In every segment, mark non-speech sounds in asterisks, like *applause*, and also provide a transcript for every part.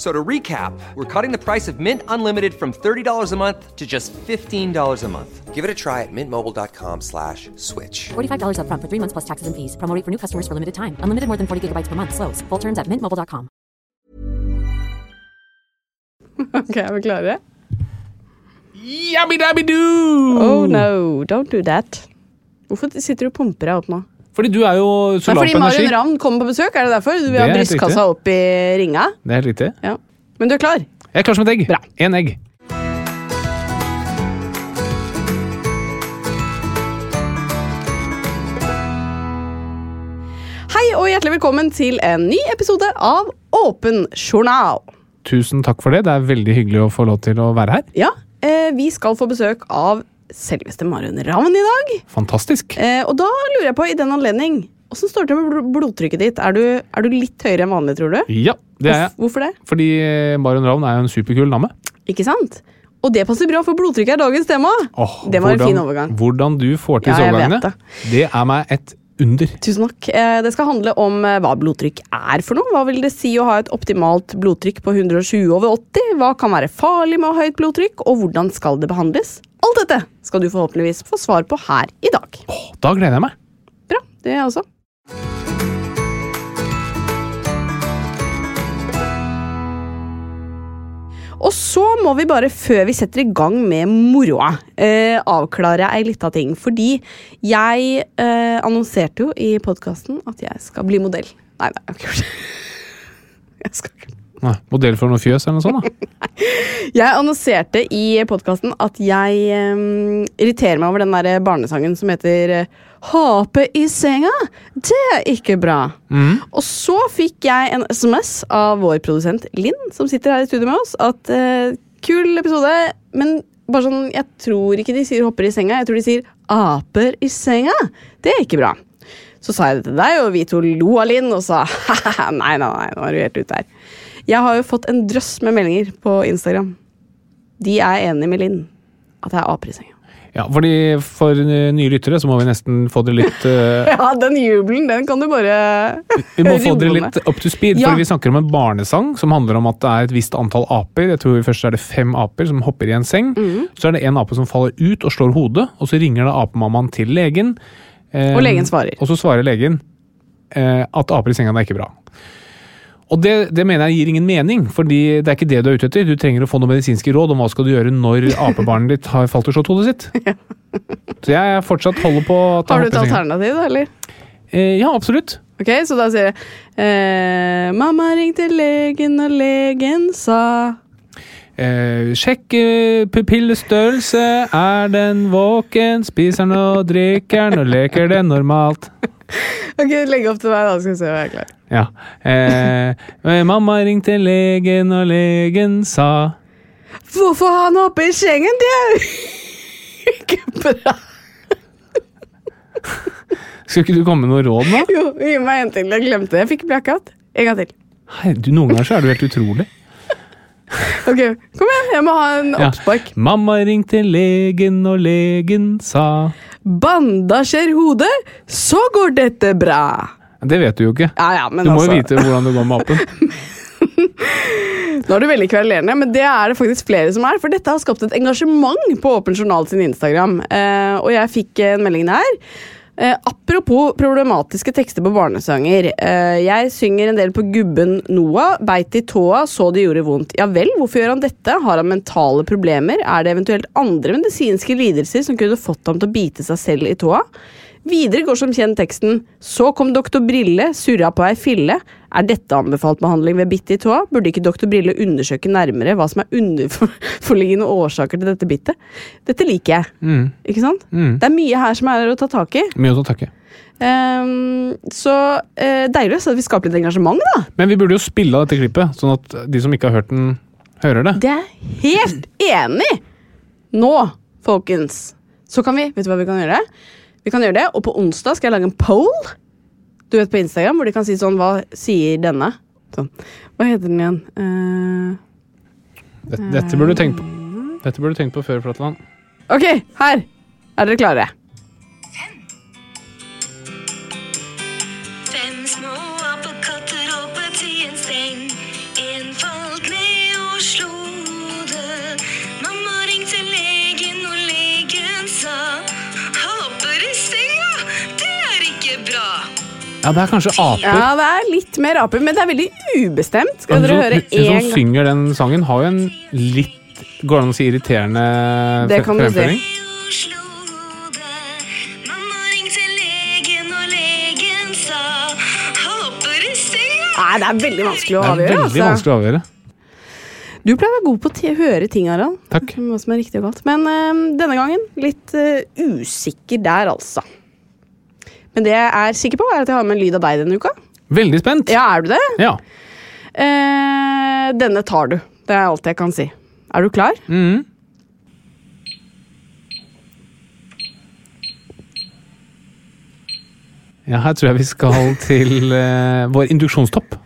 So to recap, we're cutting the price of Mint Unlimited from $30 a month to just $15 a month. Give it a try at mintmobile.com slash switch. $45 up front for three months plus taxes and fees. Promo rate for new customers for limited time. Unlimited more than 40 gigabytes per month. Slows. Full terms at mintmobile.com. Ok, er vi klare? Yabby dabby doo! Oh no, don't do that. Hvorfor sitter du og pumper deg opp nå? Fordi du er jo Det er solar fordi på energi. Marion Ravn kommer på besøk, er det derfor? Du vil Det ha er helt brystkassa opp i ringa? Det er helt riktig. Ja. Men du er klar? Jeg er klar som et egg. Bra. En egg. Hei og hjertelig velkommen til en ny episode av Åpen journal. Tusen takk for det. Det er veldig hyggelig å få lov til å være her. Ja, eh, vi skal få besøk av selveste Marion Ravn i dag. Fantastisk. Eh, og da lurer jeg på, i den anledning, åssen står det til med bl- blodtrykket ditt? Er du, er du litt høyere enn vanlig, tror du? Ja, det er jeg. Hvorfor det? Fordi eh, Marion Ravn er jo en superkul dame. Ikke sant? Og det passer bra, for blodtrykket er dagens tema. Åh, det var hvordan- en fin overgang. Hvordan du får til Ja, disse jeg vet overgangene, det. det er meg et under. Tusen takk. Eh, Det skal handle om eh, hva blodtrykk er for noe. Hva vil det si å ha et optimalt blodtrykk på 120 over 80? Hva kan være farlig med å ha høyt blodtrykk, og hvordan skal det behandles? Alt dette skal du forhåpentligvis få svar på her i dag. Åh, da gleder jeg meg. Bra. Det gjør jeg også. Og så må vi bare, før vi setter i gang med moroa, eh, avklare ei lita ting. Fordi jeg eh, annonserte jo i podkasten at jeg skal bli modell. Nei, nei, jeg har ikke gjort det. *laughs* Jeg skal ikke Nei, modell for noe fjøs eller noe *laughs* sånt, da. jeg annonserte i podkasten at jeg eh, irriterer meg over den der barnesangen som heter eh, Håpe i senga, det er ikke bra. Og så fikk jeg en SMS av vår produsent Linn, som sitter her i studio med oss, at eh, kul episode, men bare sånn, jeg tror ikke de sier hopper i senga, jeg tror de sier aper i senga. Det er ikke bra. Så sa jeg det til deg, og vi to lo av Linn og sa *laughs* «Haha, nei, nei, nei, nå er du helt ute her. Jeg har jo fått en drøss med meldinger på Instagram. De er enige med Linn. At jeg er aper i senga. Ja, fordi For eh, nye lyttere så må vi nesten få dere litt eh, *laughs* Ja, den jubelen, den kan du bare Vi må få dere Roe litt ned. up to speed, Ja. for vi snakker om en barnesang som handler om at det er et visst antall aper. Jeg tror Først er det fem aper som hopper i en seng. Mm. Så er det en ape som faller ut og slår hodet, og så ringer da apemammaen til legen. eh, Og legen svarer. Og så svarer legen eh, at aper i senga det er ikke bra. Og det, det mener jeg gir ingen mening, fordi det er ikke det du er ute etter. Du trenger å få noen medisinske råd om hva skal du gjøre *laughs* når apebarnet ditt har falt og slått hodet sitt. Så jeg er fortsatt holder på at Har du jeg et hopper i senga. alternativ, da, eller? Eh, ja, absolutt. Ok, Så da sier jeg eh, Mamma ringte legen, og legen sa Eh, sjekk eh, pupillestørrelse. Er den våken? Spiser den og drikker den og leker den normalt? Ok, legg opp til meg, da, skal vi se om jeg er klar. Ja. Eh, eh, mamma ringte legen, og legen sa Hvorfor har han hoppet i sengen? Det er jo *laughs* ikke bra. Skulle ikke du komme med noe råd nå? Jo, gi meg en til. Jeg glemte det. Jeg fikk blackout. En gang til. Hei, du, noen ganger så er du helt utrolig. Ok, Kom igjen, jeg må ha en Ja. oppspark. Mamma ringte legen, og legen sa Bandasjer hodet, så går dette bra. Det vet du jo ikke. Ja, ja, men Du må altså, jo vite hvordan det går med apen. Nå er du veldig kverulerende, men det er det faktisk flere som er. For dette har skapt et engasjement på Åpen journal sin Instagram. Eh, og jeg fikk en melding der. Eh, apropos problematiske tekster på barnesanger. Eh, jeg synger en del på gubben Noah. Beit i tåa, så det gjorde vondt. Ja vel, hvorfor gjør han dette? Har han mentale problemer? Er det eventuelt andre medisinske lidelser som kunne fått ham til å bite seg selv i tåa? Videre går som kjent teksten Så kom doktor Brille, surra på ei fille. Er dette anbefalt behandling ved bitt i tåa? Burde ikke doktor Brille undersøke nærmere hva som er underforliggende årsaker til dette bittet? Dette liker jeg. Ikke sant? Det er mye her som er å ta tak i. Mye å takke. Ehm, så eh, deilig å se at vi skaper litt engasjement, da. Men vi burde jo spille av dette klippet, sånn at de som ikke har hørt den, hører det. Det er jeg helt enig! i. Nå, folkens, så kan vi Vet du hva vi kan gjøre? Vi kan gjøre det, Og på onsdag skal jeg lage en poll Du vet på Instagram hvor de kan si sånn Hva sier denne Sånn. Hva heter den igjen? Eh, Dette, dette burde du tenke på. Dette burde du tenke på før, Flatland. ok, her! Er dere klare? Fem små apekatter hoppet i en seng. En falt ned og slo hodet. Mamma ringte legen, og legen sa Hopper i senga, det er ikke bra. Ja, det er kanskje aper. Ja, det er litt mer aper, men det er veldig ubestemt. Skal Hun dere som- høre hun som én gang? synger den sangen, har jo en litt Går det an å si irriterende Det fre- kan du si. fremføring? Og slo hodet. Mamma ringte legen, og legen sa Hopper i senga. Nei, det er veldig vanskelig å Det avgjøre. er veldig Altså. vanskelig å avgjøre. Du pleier å være god på å te- høre ting, Harald. Takk. Hva som er riktig og galt. Men eh, denne gangen litt eh, usikker der, altså. Men det jeg er sikker på, er at jeg har med en lyd av deg denne uka. Veldig spent. Ja, er du det? Ja. Eh, denne tar du. Det er alt jeg kan si. Er du klar? Mhm. Ja, her tror jeg vi *laughs* skal til eh, vår induksjonstopp.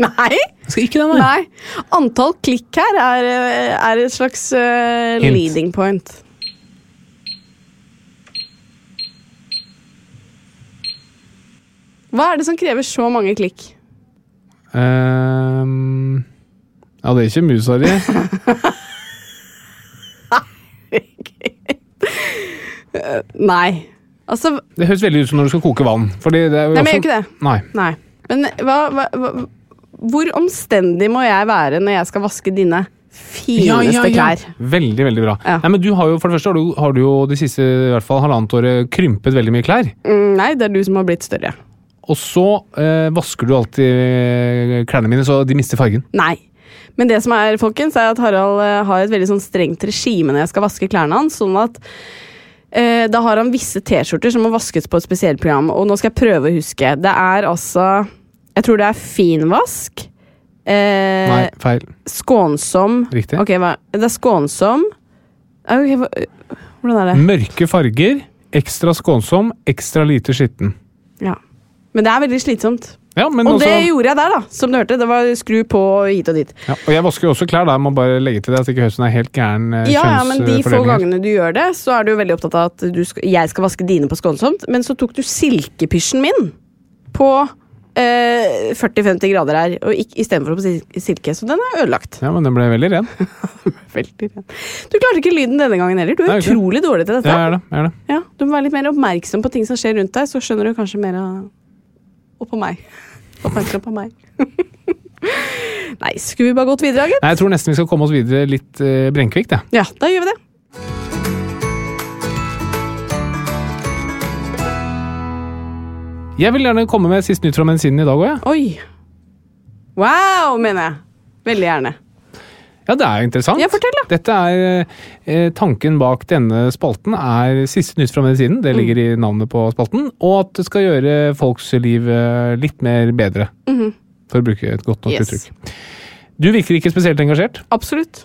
Nei! Jeg skal ikke den, nei. Nei. Antall klikk her er, eh, er et slags eh, Hint. leading point. Hva er det som krever så mange klikk? Ehm, ja, det er ikke musa di. *laughs* Nei. Altså, Det høres veldig ut som når du skal koke vann. Fordi det er jo Nei, men jeg gjør også- ikke det. Nei. Nei. Men hva, hva, hva, hvor omstendig må jeg være når jeg skal vaske dine fineste klær? Veldig, veldig bra. Ja. Nei, men du har jo, for det første har du, har du jo de siste i hvert fall halvannet året krympet veldig mye klær. Mm, Nei, det er du som har blitt større. Og så eh, vasker du alltid eh, klærne mine så de mister fargen. Nei. Men det som er, folkens, er at Harald eh, har et veldig sånn strengt regime når jeg skal vaske klærne hans. sånn at eh, Da har han visse T-skjorter som må vaskes på et spesielt program. Og nå skal jeg prøve å huske. Det er altså Jeg tror det er finvask. Eh, Nei, feil. Skånsom. Riktig. Ok, hva? Det er skånsom. Eh, ok, hva, hvordan er det? Mørke farger, ekstra skånsom, ekstra lite skitten. Ja. Men det er veldig slitsomt. Ja, men Og også, det gjorde jeg der, da. Som du hørte. Det var skru på hit og dit. ja, og jeg vasker jo også klær, da. Jeg må bare legge til det at det ikke høres ut som det er helt gæren eh, Ja, ja, men de få kjønnsfordeling her. gangene du gjør det, så er du jo veldig opptatt av at du skal, jeg skal vaske dine på skånsomt. Men så tok du silkepysjen min på eh, 40-50 grader her, og ikk- istedenfor på sil- silke. Så den er ødelagt. Ja, men den ble veldig ren. Veldig ren. Du klarte ikke lyden denne gangen heller. Du er Nei, ikke. utrolig dårlig til Ja, dette. jeg er det. Jeg er det. Ja, du må være litt mer oppmerksom på ting som skjer rundt deg, så skjønner du kanskje mer av Og på meg. *laughs* Oppmerksom på meg. *laughs* Nei, skulle vi bare gått videre, Agent? Nei, jeg tror nesten vi skal komme oss videre litt eh, brennkvikt, jeg. Ja, da gjør vi det. Jeg vil gjerne komme med sist nytt fra medisinen i dag òg, jeg. Oi. Wow, mener jeg. Veldig gjerne. Ja, det er jo interessant. Ja, fortell da. Dette er, eh, tanken bak denne spalten er siste nytt fra medisinen. Mm. Det ligger i navnet på spalten. Og at det skal gjøre folks liv eh, litt mer bedre. For å bruke et godt nok Mm-hmm. Yes. uttrykk. Du virker ikke spesielt engasjert. Absolutt.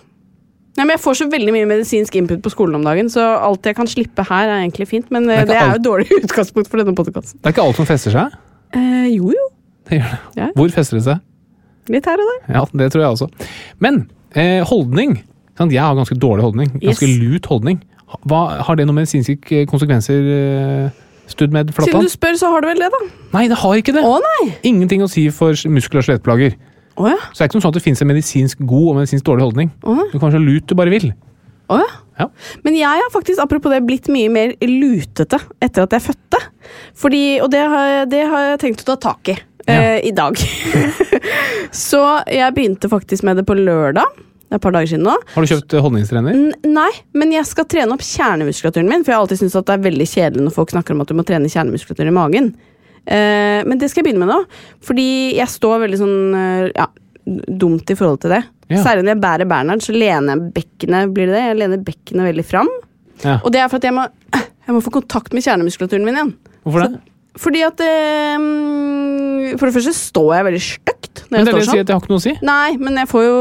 Nei, men Jeg får så veldig mye medisinsk input på skolen om dagen, så alt jeg kan slippe her, er egentlig fint. Men eh, Det er det er jo ikke alt- et dårlig *laughs* utgangspunkt for denne podkasten. Det er ikke alt som fester seg. *laughs* Eh, jo jo. Det gjør det. Ja. Hvor fester det seg? Litt her og der. Ja, det tror jeg også. Men eh, holdning. Sant? Jeg har ganske dårlig holdning. Ganske Yes. lut holdning. Ha- Hva, har det noen medisinske eh, konsekvenser, eh, Studmed Siden Flatland? du spør, så har du vel det, da. Nei, det har ikke det. Å nei! Ingenting å si for muskel- og skjelettplager. Å ja. Så det er ikke noe sånn at det finnes en medisinsk god og medisinsk dårlig holdning. Å. Du kan være så lut du bare vil. Å ja. Ja. Men jeg har faktisk apropos det, blitt mye mer lutete etter at jeg fødte. Fordi, og det har, jeg- det har jeg tenkt å ta tak i eh, i dag. *laughs* så jeg begynte faktisk med det på lørdag. Det er et par dager siden nå. Har du kjøpt eh, holdningstrener? N nei, men jeg skal trene opp kjernemuskulaturen min. For jeg har alltid syntes at det er veldig kjedelig når folk snakker om at du må trene kjernemuskulaturen i magen. Eh, men det skal jeg begynne med nå, fordi jeg står veldig sånn eh, ja, dumt i forhold til det. Ja. Særlig når jeg bærer Bernhard, så lener jeg bekkenet blir det det? Jeg lener bekkenet veldig fram. Ja. Og det er for at jeg må, *clears throat* jeg må få kontakt med kjernemuskulaturen min igjen. Hvorfor det? Fordi at eh, mm, For det første står jeg veldig stygt når Men jeg det står er det jeg sånn. sier at jeg har ikke noe å si. Nei, men jeg får jo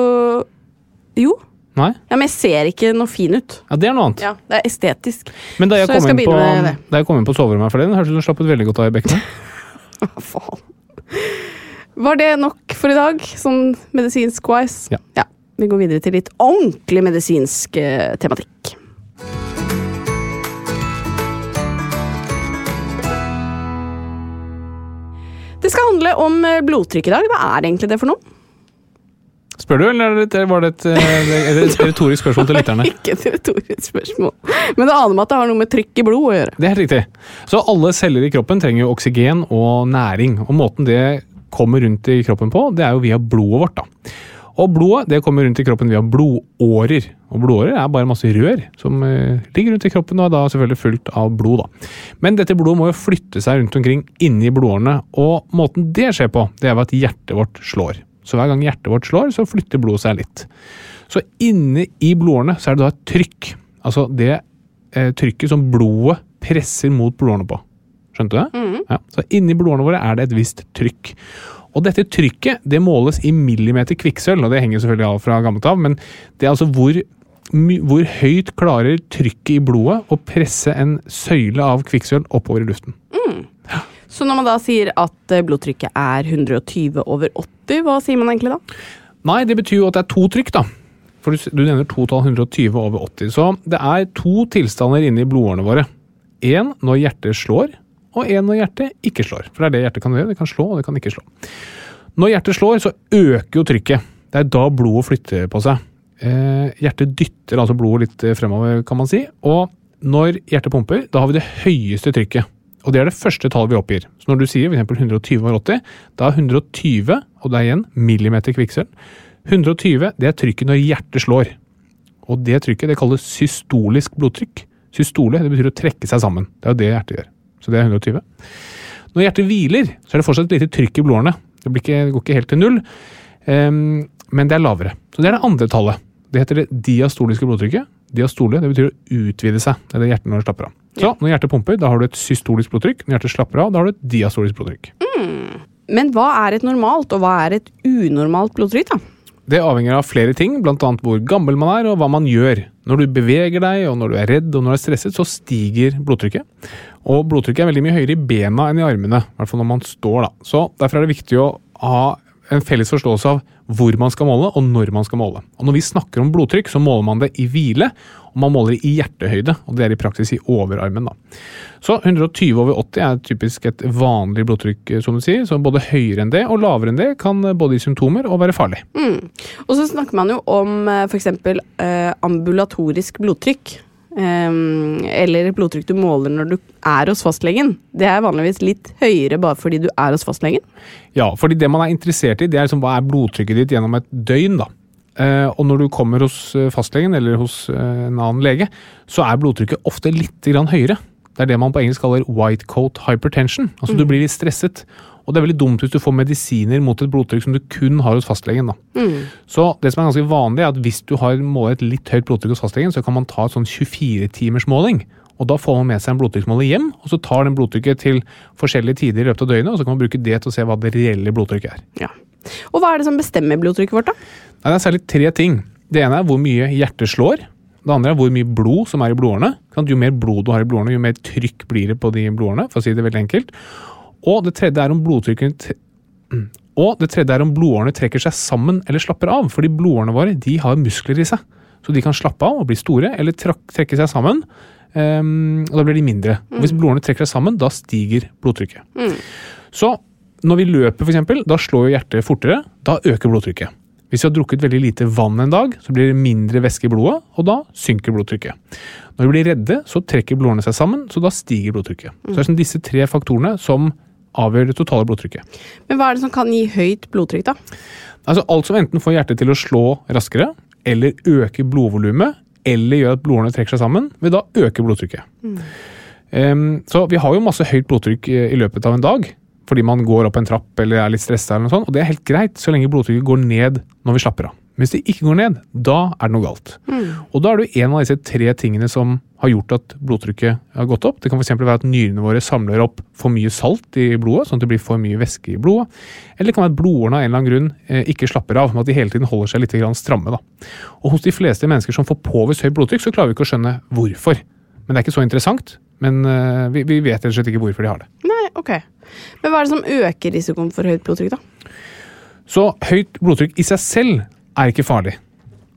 Jo. Nei, Ja, men jeg ser ikke noe fin ut. ja, Det er noe annet. Ja, Det er estetisk. Men da jeg, Så jeg kom skal inn på, begynne med *laughs* da jeg kom inn på soverommet her forleden, hørtes det ut som du slappet veldig godt av i bekkenet. Hva faen? Var det nok for i dag, sånn medisinsk-wise? Ja. Vi går videre til litt ordentlig medisinsk eh, tematikk. Det skal handle om eh, blodtrykk i dag. Hva er egentlig det for noe? Spør du, eller er det- var det et, eh, er det et retorisk spørsmål til lytterne? *laughs* Ikke et retorisk spørsmål. Men det aner meg at det har noe med trykk i blodet å gjøre. Det er helt riktig. Så alle celler i kroppen trenger jo oksygen og næring. Og måten det kommer rundt i kroppen på, det er jo via blodet vårt. da. Og blodet det kommer rundt i kroppen via blodårer. Og blodårer er bare masse rør som eh, ligger rundt i kroppen og er da selvfølgelig fullt av blod. da. Men dette blodet må jo flytte seg rundt omkring inni blodårene, og måten det skjer på, det er ved at hjertet vårt slår. Så hver gang hjertet vårt slår, så flytter blodet seg litt. Så inne i blodårene så er det da et trykk. Altså det eh, trykket som blodet presser mot blodårene på. Skjønte du det? Ja. Så inni blodårene våre er det et visst trykk. Og dette trykket det måles i millimeter kvikksølv, og det henger selvfølgelig av fra gammelt av, men det er altså hvor, my- hvor høyt klarer trykket i blodet å presse en søyle av kvikksølv oppover i luften. Så når man da sier at eh, blodtrykket er 120 over 80, hva sier man egentlig da? Nei, det betyr jo at det er to trykk, da. For du, s- du nevner to tall 120 over 80. Så det er to tilstander inne i blodårene våre. Én når hjertet slår, og én når hjertet ikke slår. For det er det hjertet kan gjøre. Det kan slå, og det kan ikke slå. Når hjertet slår, så øker jo trykket. Det er da blodet flytter på seg. Eh, hjertet dytter altså blodet litt eh, fremover, kan man si. Og når hjertet pumper, da har vi det høyeste trykket. Og det er det første tallet vi oppgir. Så når du sier for eksempel 120 over 80, da er 120, og det er igjen millimeter kvikksølv, 120 det er trykket når hjertet slår. Og det trykket det kalles systolisk blodtrykk. Systole det betyr å trekke seg sammen. Det er jo det hjertet gjør. Så det er 120. Når hjertet hviler, så er det fortsatt et lite trykk i blodårene. Det, blir ikke, det går ikke helt til null, Ehm, men det er lavere. Så det er det andre tallet. Det heter det diastoliske blodtrykket. Diastole det betyr å utvide seg. Det er det hjertet når det slapper av. Så når hjertet pumper, da har du et systolisk blodtrykk. Når hjertet slapper av, da har du et diastolisk blodtrykk. Men hva er et normalt, og hva er et unormalt blodtrykk, da? Det avhenger av flere ting, bl.a. hvor gammel man er og hva man gjør. Når du beveger deg, og når du er redd og når du er stresset, så stiger blodtrykket. Og blodtrykket er veldig mye høyere i bena enn i armene, i hvert fall når man står. da. Så Derfor er det viktig å ha en felles forståelse av hvor man skal måle, og når man skal måle. Og Når vi snakker om blodtrykk, så måler man det i hvile, og man måler det i hjertehøyde, og det er i praksis i overarmen. da. Så 120 over 80 er typisk et vanlig blodtrykk, eh, som du sier. Så både høyere enn det og lavere enn det kan både gi symptomer og være farlig. Og så snakker man jo om f.eks. Eh, ambulatorisk blodtrykk. Eh, eller et blodtrykk du måler når du er hos fastlegen. Det er vanligvis litt høyere bare fordi du er hos fastlegen. Ja, fordi det man er interessert i, det er liksom, hva er blodtrykket ditt gjennom et døgn, da. Eh, og når du kommer hos eh, fastlegen eller hos eh, en annen lege, så er blodtrykket ofte litt grann høyere. Det er det man på engelsk kaller white coat hypertension. Altså du blir litt stresset. Og det er veldig dumt hvis du får medisiner mot et blodtrykk som du kun har hos fastlegen. da. Så det som er ganske vanlig er at hvis du har målet et litt høyt blodtrykk hos fastlegen, så kan man ta et sånn 24-timers måling. Og da får man med seg en blodtrykksmåler hjem, og så tar den blodtrykket til forskjellige tider i løpet av døgnet, og så kan man bruke det til å se hva det reelle blodtrykket er. Ja. Og hva er det som bestemmer blodtrykket vårt, da? Nei, det er særlig tre ting. Det ene er hvor mye hjertet slår. Det andre er hvor mye blod som er i blodårene. Ikke sant? Jo mer blod du har i blodårene, jo mer trykk blir det på de blodårene. for å si det veldig enkelt. Og det tredje er om blodtrykket t- Mm. Og det tredje er om blodårene trekker seg sammen eller slapper av. fordi blodårene våre de har muskler i seg, så de kan slappe av og bli store eller trak- trekke seg sammen. ehm, og da blir de mindre. Og hvis blodårene trekker seg sammen, da stiger blodtrykket. Så når vi løper, for eksempel, da slår jo hjertet fortere. Da øker blodtrykket. Hvis vi har drukket veldig lite vann en dag, så blir det mindre væske i blodet, og da synker blodtrykket. Når vi blir redde, så trekker blodårene seg sammen, så da stiger blodtrykket. Så det er sånn disse tre faktorene som avgjør det totale blodtrykket. Men hva er det som kan gi høyt blodtrykk, da? Altså Alt som enten får hjertet til å slå raskere, eller øker blodvolumet, eller gjør at blodårene trekker seg sammen, vil da øke blodtrykket. Ehm, så vi har jo masse høyt blodtrykk eh, i løpet av en dag, fordi man går opp en trapp eller er litt stressa, eller noe sånt, og det er helt greit så lenge blodtrykket går ned når vi slapper av. Hvis det ikke går ned, da er det noe galt. Og da er det jo en av disse tre tingene som har gjort at blodtrykket har gått opp. Det kan f.eks. være at nyrene våre samler opp for mye salt i blodet, sånn at det blir for mye væske i blodet. Eller det kan være at blodårene av en eller annen grunn eh, ikke slapper av, men at de hele tiden holder seg litt grann stramme. Da. Og hos de fleste mennesker som får påvist høyt blodtrykk, så klarer vi ikke å skjønne hvorfor. Men det er ikke så interessant. Men eh, vi, vi vet rett og slett ikke hvorfor de har det. Nei, ok. Men hva er det som øker risikoen for høyt blodtrykk, da? Så høyt blodtrykk i seg selv er ikke farlig.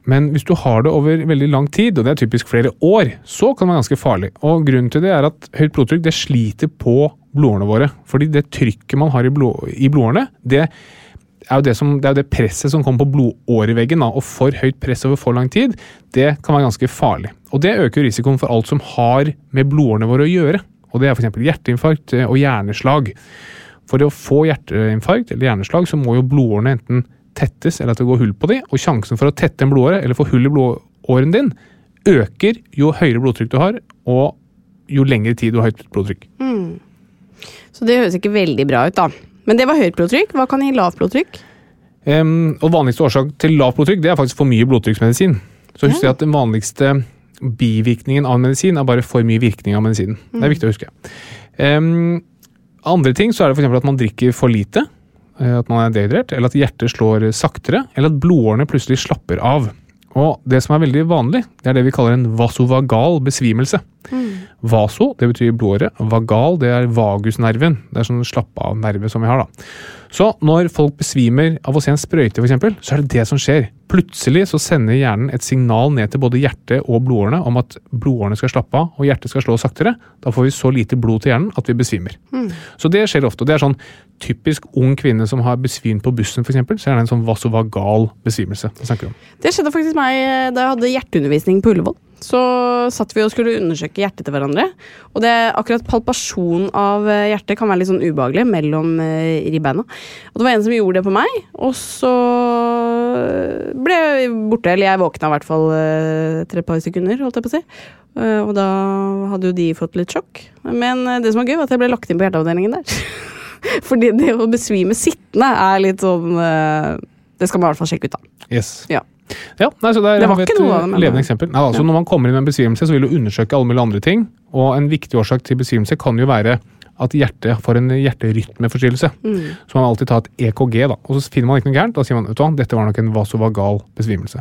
Men hvis du har det over veldig lang tid, og det er typisk flere år, så kan det være ganske farlig. Og Grunnen til det er at høyt blodtrykk det sliter på blodårene våre. Fordi det trykket man har i, blod, i blodårene, det er, jo det, som, det er jo det presset som kommer på blodåreveggen. Da, og for høyt press over for lang tid, det kan være ganske farlig. Og det øker jo risikoen for alt som har med blodårene våre å gjøre. Og det er f.eks. hjerteinfarkt eh, og hjerneslag. For å få hjerteinfarkt eller hjerneslag, så må jo blodårene enten tettes eller at det går hull på de, og sjansen for å tette en blodåre eller få hull i blodåren din øker jo høyere blodtrykk du har, og jo lengre tid du har høyt blodtrykk. Så det høres ikke veldig bra ut, da. Men det var høyt blodtrykk. Hva kan gi lavt blodtrykk? Ehm, og vanligste årsak til lavt blodtrykk det er faktisk for mye blodtrykksmedisin. Så husk det at den vanligste bivirkningen av medisin er bare for mye virkning av medisinen. Det er viktig å huske. Ehm, andre ting så er det for eksempel at man drikker for lite, eh, at man er dehydrert, eller at hjertet slår saktere, eller at blodårene plutselig slapper av. Og det som er veldig vanlig, det er det vi kaller en vasovagal besvimelse. Vaso, det betyr blodåre. Vagal, det er vagusnerven. Det er sånn slappe-av-nerve som vi har, da. Så når folk besvimer av å se en sprøyte, for eksempel, så er det det som skjer. Plutselig så sender hjernen et signal ned til både hjertet og blodårene om at blodårene skal slappe av og hjertet skal slå saktere. Da får vi så lite blod til hjernen at vi besvimer. Så det skjer ofte. og Det er sånn typisk ung kvinne som har besvimt på bussen, for eksempel, så er det en sånn vasovagal besvimelse vi snakker om. Det skjedde faktisk meg eh, da jeg hadde hjerteundervisning på Ullevål. Så satt vi og skulle undersøke hjertet til hverandre. Og det akkurat palpasjon av eh, hjertet kan være litt sånn ubehagelig mellom eh, ribbeina. Og det var en som gjorde det på meg, og så eh, ble jeg borte. Eller jeg våkna i hvert fall eh, etter et par sekunder, holdt jeg på å si. Eh, Og da hadde jo de fått litt sjokk. Men eh, det som var gøy, var at jeg ble lagt inn på hjerteavdelingen der. *laughs* Fordi det å besvime sittende er litt sånn eh, Det skal man i hvert fall sjekke ut, da. Yes. Ja. Ja, nei, så der Det var har vi et ikke noe av det, men- levende eksempel. Nei, altså, Når man kommer inn med en besvimelse, så vil du undersøke alle mulige andre ting. Og en viktig årsak til besvimelse kan jo være at hjertet får en hjerterytmeforstyrrelse. Mm. Så man må alltid ta et EKG, da. Og så finner man ikke noe gærent. Da sier man vet du hva, dette var nok en vasovagal besvimelse.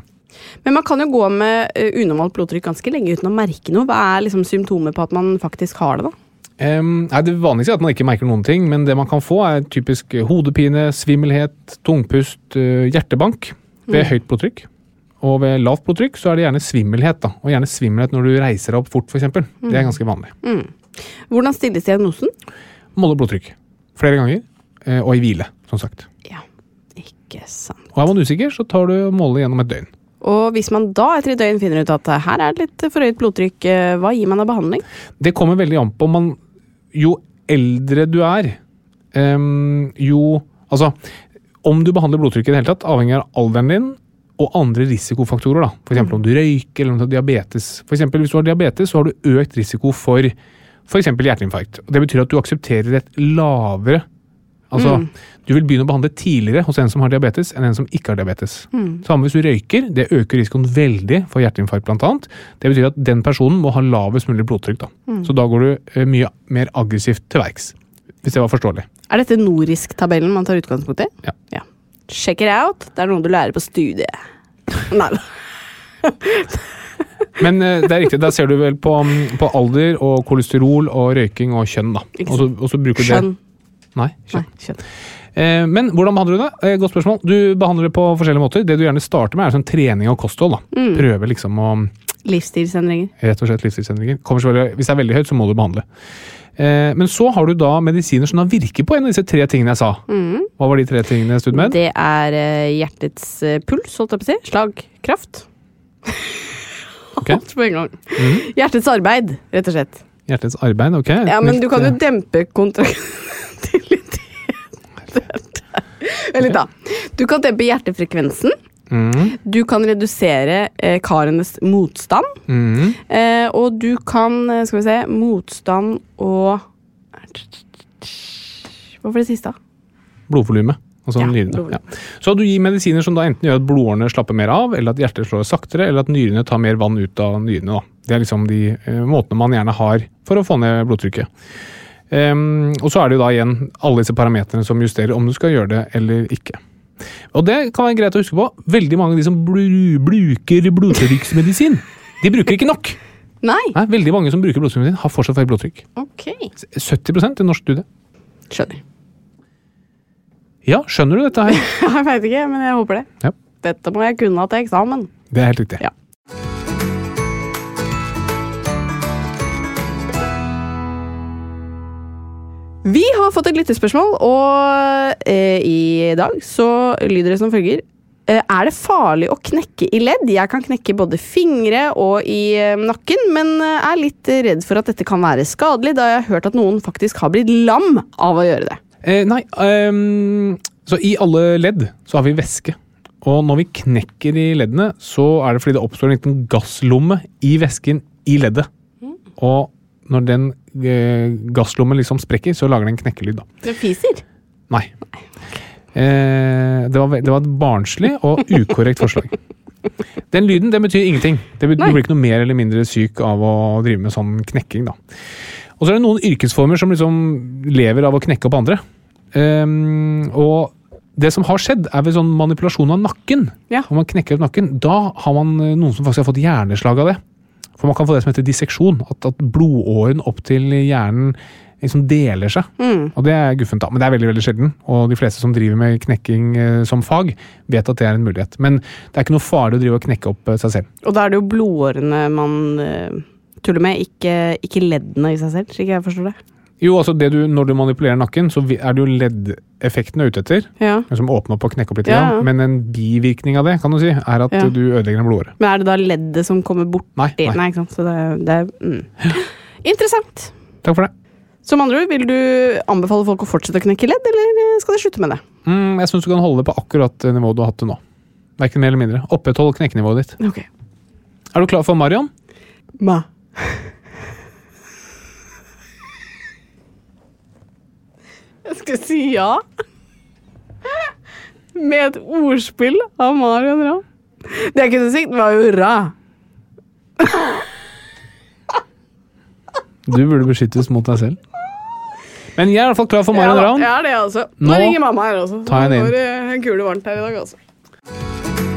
Men man kan jo gå med eh, unormalt blodtrykk ganske lenge uten å merke noe. Hva er liksom symptomer på at man faktisk har det, da? Em, nei, det vanligste er at man ikke merker noen ting, men det man kan få er typisk hodepine, svimmelhet, tungpust, eh, hjertebank ved Mm. høyt blodtrykk. Og ved lavt blodtrykk så er det gjerne svimmelhet, da. Og gjerne svimmelhet når du reiser deg opp fort, f.eks. eksempel. Det Mm. er ganske vanlig. Hvordan stilles diagnosen? måle blodtrykk flere ganger, eh, og i hvile, som sagt. Ja, ikke sant. Og er man usikker, så tar du målet gjennom et døgn. Og hvis man da etter et døgn finner ut at eh, her er det litt for høyt blodtrykk, eh, hva gir man av behandling? Det kommer veldig an på om man Jo eldre du er, em, jo Altså, om du behandler blodtrykket i det hele tatt, avhenger av alderen din og andre risikofaktorer, da. F.eks. om du røyker eller om du har diabetes. For eksempel, hvis du har diabetes, så har du økt risiko for f.eks. hjerteinfarkt. Og det betyr at du aksepterer et lavere Altså, Mm. Du vil begynne å behandle tidligere hos en som har diabetes, enn en som ikke har diabetes. Mm. Samme hvis du røyker, det øker risikoen veldig for hjerteinfarkt bl.a. Det betyr at den personen må ha lavest mulig blodtrykk. da. Mm. Så da går du eh, mye mer aggressivt til verks. Hvis det var forståelig. Er dette Norisk-tabellen man tar utgangspunkt i? Ja. Check it out. Det er noe du lærer på studiet. Nei da. Men eh, det er riktig, der ser du vel på, mm, på alder og kolesterol og røyking og kjønn, da. Ikke Og så- og så bruker du Skjønn. det. Nei, Nei, kjønn. skjønn. Eh, men hvordan behandler du det? Eh, godt spørsmål. Du behandler det på forskjellige måter. Det du gjerne starter med, er sånn trening og kosthold. da. Mm. Prøve liksom å Livsstilsendringer. rett og slett livsstilsendringer. Kommer selvfølgelig- Hvis det er veldig høyt, så må du behandle. Eh, men så har du da medisiner som da virker på en av disse tre tingene jeg sa. Hva var de tre tingene jeg studde med? Mm. Det er eh, hjertets eh, puls, holdt jeg på å si. Slag. *laughs* Kraft. Ok. Alt på en gang. Hjertets arbeid, rett og slett. Hjertets arbeid, ok. Ja, men du kan jo Litt, dempe *laughs* kontraktilitet *laughs* Vent litt, da. Du kan dempe hjertefrekvensen. eh, mm, Du kan redusere eh, karenes motstand. mm. Eh, og du kan, eh, skal vi se, motstand og Hva var det siste? da? Blodvolumet. Altså Ja, nyrene. blodvolumet. Ja. Så du gir medisiner som da enten gjør at blodårene slapper mer av, eller at hjertet slår saktere, eller at nyrene tar mer vann ut av nyrene. da. Det er liksom de eh, måtene man gjerne har for å få ned blodtrykket. Ehm, og så er det jo da igjen alle disse parametrene som justerer om du skal gjøre det eller ikke. Og det kan være greit å huske på. Veldig mange av de som bru- bruker blodtrykksmedisin, de bruker ikke nok. Nei! Nei, veldig mange som bruker blodtrykksmedisin, har fortsatt høyt blodtrykk. Ok. 70 i norsk studie. Skjønner. Ja, skjønner du dette her? *laughs* Jeg veit ikke, men jeg håper det. Ja, Dette må jeg kunne til eksamen. det er helt riktig. Ja. Vi har fått et lyttespørsmål, og eh, i dag så lyder det som følger. Eh, er det farlig å knekke i ledd? Jeg kan knekke både fingre og i eh, nakken, men eh, er litt redd for at dette kan være skadelig, da jeg har hørt at noen faktisk har blitt lam av å gjøre det. Eh, nei, ehm, så i alle ledd så har vi væske. Og når vi knekker i leddene, så er det fordi det oppstår en liten gasslomme i væsken i leddet. Og når den eh, gasslommen liksom sprekker, så lager den en knekkelyd, da. Du fiser? Nei. Eh, det, var, ve- det var et barnslig og ukorrekt forslag. Den lyden det betyr ingenting. Det betyr, Nei. du blir ikke noe mer eller mindre syk av å drive med sånn knekking. da. Og så er det noen yrkesformer som liksom lever av å knekke opp andre. Ehm, og det som har skjedd, er ved sånn manipulasjon av nakken. Ja. Når man knekker opp nakken, Da har man eh, noen som faktisk har fått hjerneslag av det. For man kan få det som heter disseksjon. At, at blodåren opp til hjernen liksom deler seg. Mm. Og det er guffent, da. Men det er veldig veldig sjelden. Og de fleste som driver med knekking eh, som fag, vet at det er en mulighet. Men det er ikke noe farlig å drive og knekke opp eh, seg selv. Og da er det jo blodårene man eh, tuller med, ikke, ikke leddene i seg selv, slik jeg forstår det. Jo, altså det du, Når du manipulerer nakken, så vi- er det jo leddeffekten du er ute etter. Ja. Som åpner opp og knekker opp litt. Ja, grann. ja. Men en bivirkning av det kan du si, er at Ja. eh, du ødelegger en blodåre. Men er det da leddet som kommer borti? Nei, nei. ikke sant? Så det, er- det er mm. Interessant. Takk for det. Som andre ord, vil du anbefale folk å fortsette å knekke ledd, eller eh, skal de slutte med det? Mm, jeg syns du kan holde det på akkurat det nivået du har hatt det nå. Verken mer eller mindre. Oppretthold knekkenivået ditt. Ok. Er du klar for Marion? Ma. Jeg skal si ja. Med et ordspill av Marion Ramm. Det jeg kunne sagt, var jo ra. Du burde beskyttes mot deg selv. Men jeg er i hvert fall klar for Marion ja, da, Ravn. Jeg er det, altså. Nå, Nå ringer mamma her også. tar jeg den Nå inn. går det en kule varmt her i dag, altså.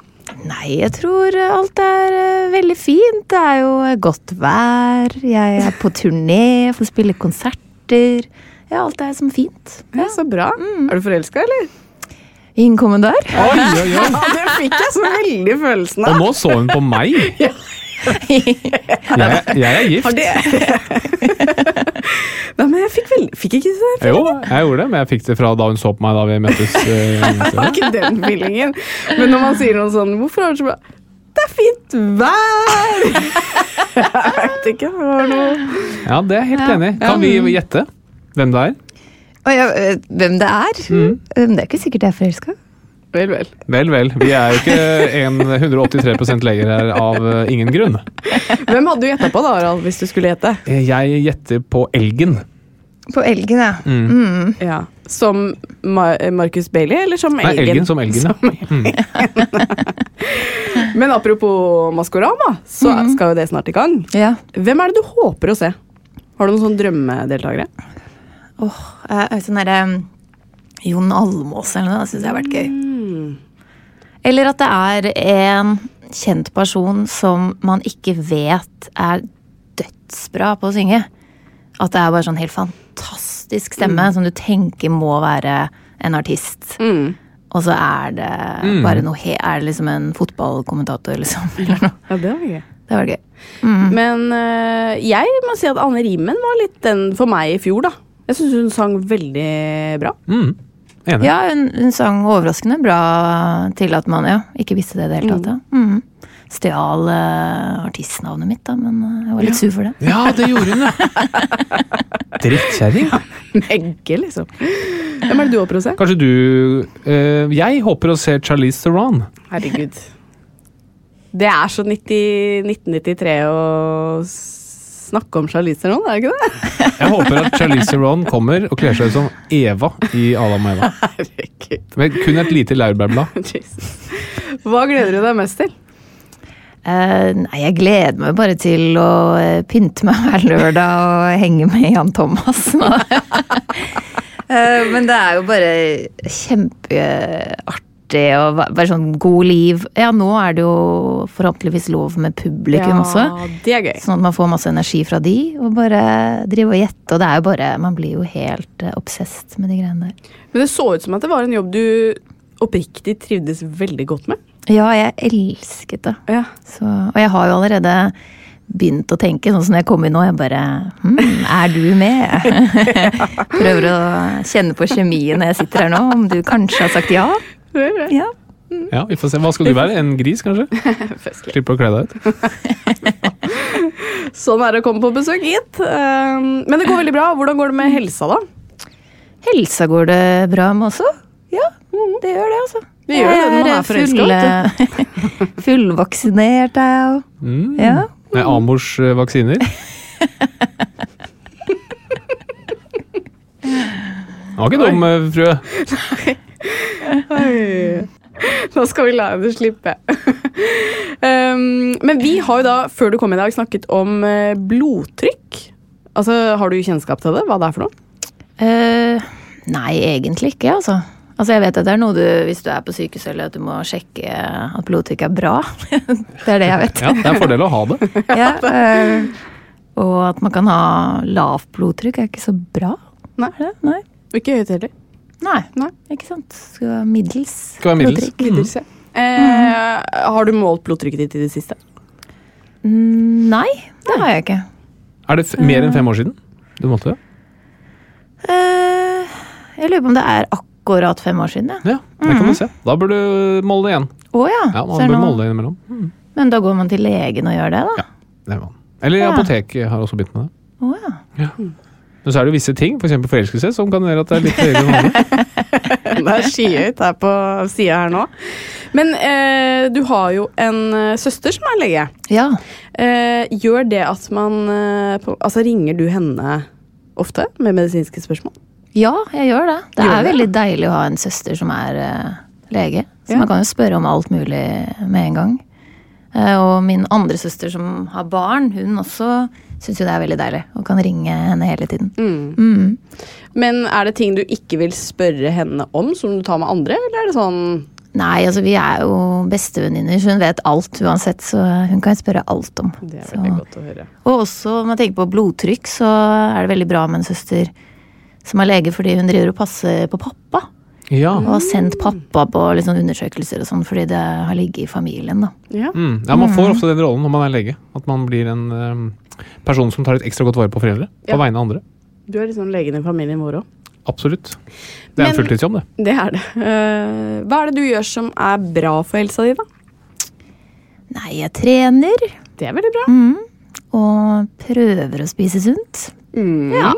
Nei, jeg tror eh, alt er eh, veldig fint. Det er jo eh, godt vær. Jeg er på turné, får spille konserter. Ja, alt er som fint. Ja, så bra. Mm. Er du forelska, eller? Innkommende *laughs* der. *laughs* Oi, oi, oi. Ja, det fikk jeg så veldig følelsen Og av. nå så hun på meg! Jeg, jeg er gift. *laughs* Nei, men jeg fikk, veldig, fikk ikke det. Jo, jeg gjorde det, men jeg fikk det fra da hun så på meg da vi møttes. eh, Ikke den feelingen. Men når man sier noe sånn Hvorfor er det så bra? Det er fint vær! *laughs* Jeg vet ikke. Det var noe Ja, det er jeg helt enig i. Kan vi gjette hvem det er? Og jeg, eh, hvem det er? Eh, Det er ikke sikkert jeg er forelska. Vel, vel. Vel, vel. Vi er jo ikke en 183 leger her av eh, ingen grunn. Hvem hadde du gjetta på, da, Harald, hvis du skulle gjette? Eh, Jeg gjetter på elgen. På Elgen, ja. Ja. Som Ma Marcus Bailey, eller som Nei, Elgen? elgen som elgen, ja. Mm. *laughs* Men apropos Maskorama, så skal jo det snart i gang. ja. Hvem er det du håper å se? Har du noen sånne drømmedeltakere? Åh, jeg er sånn derre um, Jon Almås eller noe, det syns jeg har vært gøy. Eller at det er en kjent person som man ikke vet er dødsbra på å synge. At det er bare sånn helt fantastisk stemme som du tenker må være en artist. og så er det bare noe he Er det liksom en fotballkommentator, liksom? *laughs* Eller noe. Ja, det var gøy. Det var gøy. Mm. Mm. Men eh, jeg må si at Anne Rimen var litt den for meg i fjor, da. Jeg syns hun sang veldig bra. Mm. Enig. Ja, hun, hun sang overraskende bra til at man ja, ikke visste det i det hele tatt. Ja. Mm. Stjal eh, artistnavnet mitt, da, men eh, jeg var litt sur for det. Ja, det gjorde *laughs* hun, ja! Drittkjerring. Megge, liksom. Hvem er det du håper å se? Kanskje du eh, Jeg håper å se Charlize Theron. Herregud. Det er så 90, 1993 å s- snakke om Charlize Theron, er det ikke det? Jeg håper at Charlize Theron kommer og kler seg ut som Eva i Adam og Eva. Herregud. Men kun et lite laurbærblad. Jesus. Hva gleder du deg mest til? Eh, nei, jeg gleder meg bare til å eh, pynte meg hver lørdag og henge med Jan Thomas. *laughs* nå. Eh, men det er jo bare kjempeartig og va- bare sånn god liv. Ja, nå er det jo forhåpentligvis lov med publikum også. det er gøy. Sånn at man får masse energi fra de, og bare drive og gjette. Og det er jo bare Man blir jo helt eh, obsessed med de greiene der. Men det så ut som at det var en jobb du oppriktig trivdes veldig godt med. Ja, jeg elsket det. Ja. Så, og jeg har jo allerede begynt å tenke, sånn som når jeg kom inn nå. Jeg bare hm, Er du med? *laughs* Prøver å kjenne på kjemien når jeg sitter her nå, om du kanskje har sagt ja. ja. Ja, vi får se. Hva skal du være? En gris, kanskje? Slipper å kle deg ut. Sånn er det å komme på besøk hit. Um, Men det går veldig bra. Hvordan går det med helsa, da? *laughs* Helsa går det bra med også? Ja, det gjør det, altså. Det gjør det når man Jeg er forelska, vet full- eh, *laughs* Fullvaksinert er jeg jo. Ja. Med Amors eh, vaksiner. Det var ikke dum, eh, frue. Nå skal vi la henne slippe. *laughs* um, men vi har jo da, før du kom i dag, snakket om eh, blodtrykk. Altså, Har du kjennskap til det? Hva det er for noe? Eh, nei, egentlig ikke, altså. Altså, Jeg vet at det er noe du, hvis du er på sykehuset eller at du må sjekke at blodtrykket er bra. *laughs* det er det jeg vet. *laughs* Ja, det er en fordel å ha det. Ja, eh, og at man kan ha lavt blodtrykk er ikke så bra. Nei. Er det? Nei. Ikke høyt heller. Nei. Nei. Ikke sant. Skal være middels. Skal være middels. blodtrykk. Middels, ja. Mm. Eh, har du målt blodtrykket ditt i det *laughs* siste? Mm, Nei, det har jeg ikke. Er det f mer enn fem år siden du målte det? Eh, jeg lurer på om det er akkurat fem år siden. Ja. Ja, det kan du se. Da bør du måle det igjen. Å ja. Ja, ser man jeg bør nå. måle det innimellom. Men da går man til legen og gjør det, da? Ja, det må man. Eller Ja. apotek har også begynt med det. Å ja. Men så er det jo visse ting, f.eks. For forelskelse, som kan gjøre at det er litt høyere enn vanlig. Det er skyhøyt her på sida her nå. Men eh, du har jo en eh, søster som er lege. ja. Eh, gjør det at man eh, på, Altså, ringer du henne ofte med medisinske spørsmål? Ja, jeg gjør det. Det Gjør er det, veldig deilig å ha en søster som er eh, lege. Så Ja. man kan jo spørre om alt mulig med en gang. Eh, og min andre søster som har barn, hun også syns jo det er veldig deilig. Og kan ringe henne hele tiden. Mm. Men er det ting du ikke vil spørre henne om, som du tar med andre, eller er det sånn Nei, altså vi er jo bestevenninner, så hun vet alt uansett. Så hun kan jeg spørre alt om. Det er Så- veldig godt å høre. Og også om man tenker på blodtrykk, så er det veldig bra med en søster som er lege fordi hun driver og passer på pappa. Ja. Og har sendt pappa på litt sånn undersøkelser og sånn, fordi det har ligget i familien. da. Ja. Mm. ja, man får ofte den rollen når man er lege. At man blir en ehm, person som tar litt ekstra godt vare på foreldre. Ja. På vegne av andre. Du er liksom legen i familien vår òg. Absolutt. Det Men- er en fulltidsjobb, det. Det er det. Eh, hva er det du gjør som er bra for helsa di, da? Nei, jeg trener Det er veldig bra. og prøver å spise sunt. Mm. Ja.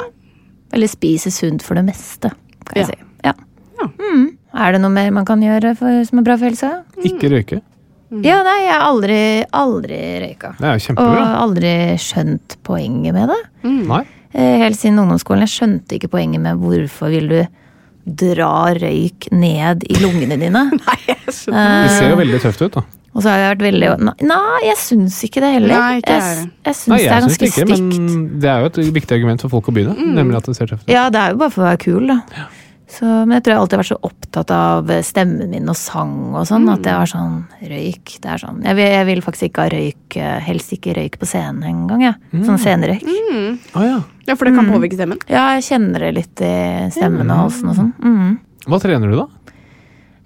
Eller spise sunt for det meste, kan Ja. jeg si. Ja. Ja. Mm. Er det noe mer man kan gjøre for, som er bra for helsa? Ikke røyke. Mm. Ja, nei, jeg har aldri, aldri røyka. Det er jo Og kjempebra. aldri skjønt poenget med det. Nei. Eh, Helt siden ungdomsskolen. Jeg skjønte ikke poenget med hvorfor vil du dra røyk ned i lungene dine. *laughs* Nei, jeg skjønner. Det ser jo veldig tøft ut, da. Og så har jeg vært veldig Nei, nei jeg syns ikke det heller. Nei, ikke jeg jeg heller. jeg syns Nei, det er jeg syns ganske det ikke, stygt. men det er jo et viktig argument for folk å begynne. Nemlig at det ser tøft ut. Ja, det er jo bare for å være kul, da. Så, men jeg tror jeg alltid har vært så opptatt av eh, stemmen min og sang og sånn, at Mm. det var sånn røyk. Det er sånn Jeg vil, jeg vil faktisk ikke ha røyk, eh, helst ikke røyk på scenen engang, jeg. Mm. Sånn scenerøyk. Mm. Å, Ah, ja. Ja, for det kan påvirke stemmen. Ja, jeg kjenner det litt i stemmen og halsen og sånn. Mm. Hva trener du, da?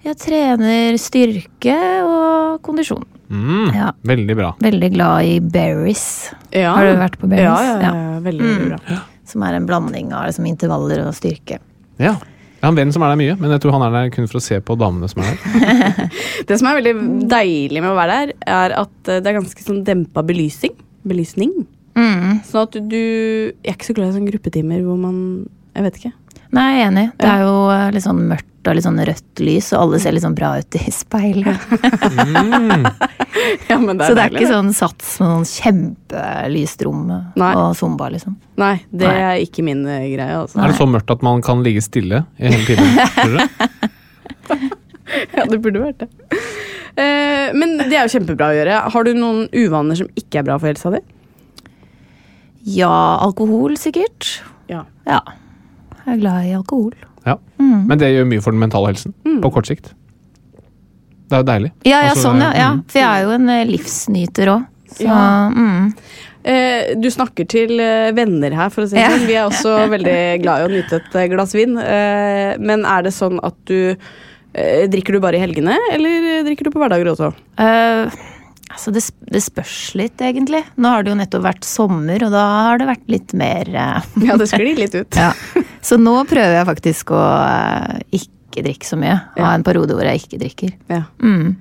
Jeg trener styrke og kondisjon. Mm, Ja. Veldig bra. Veldig glad i berries, Ja. Har du vært på Berries? Ja, ja, Mm. ja, veldig, veldig bra. som er en blanding av liksom, intervaller og styrke. Ja. Jeg har en venn som er der mye, men jeg tror han er der kun for å se på damene som er der. Det som er veldig deilig med å være der, er at eh, det er ganske sånn dempa belysning. belysning. Mm. Sånn at du Jeg er ikke så glad i sånne gruppetimer hvor man Jeg vet ikke. Nei, jeg er enig. Det er jo eh, litt sånn mørkt og litt sånn rødt lys, og alle ser litt sånn bra ut i *laughs* speilet. Ja, men Så det er deilig, ikke sånn sats med noen kjempelyst rom Nei. og zumba, liksom. Nei, det er ikke min eh, greie. Altså. Er det så mørkt at man kan ligge stille i hele *laughs* timen? Tror du det? *laughs* Ja, det burde vært det. Eh, men det er jo kjempebra å gjøre. Har du noen uvaner som ikke er bra for helsa di? Ja, alkohol sikkert. Ja. Ja. Jeg er glad i alkohol. Ja. Mm. Men det gjør mye for den mentale helsen. På kort sikt. Det er jo deilig. Ja, ja, Altså, sånn, ja, mm. ja. For jeg er jo en eh, livsnyter òg. Så Ja. mm. Eh, du snakker til eh, venner her, for å si det Ja. sånn. Vi er også *laughs* veldig glad i å nyte et eh, glass vin. Eh, men er det sånn at du eh, Drikker du bare i helgene, eller eh, drikker du på hverdager også? Eh, altså, det, sp- det spørs litt, egentlig. Nå har det jo nettopp vært sommer, og da har det vært litt mer eh, *laughs* *laughs* Ja, det sklir litt ut. ja. Så nå prøver jeg faktisk å eh, ikke drikke så mye. Ha en periode hvor jeg ikke drikker. Ja. Mm.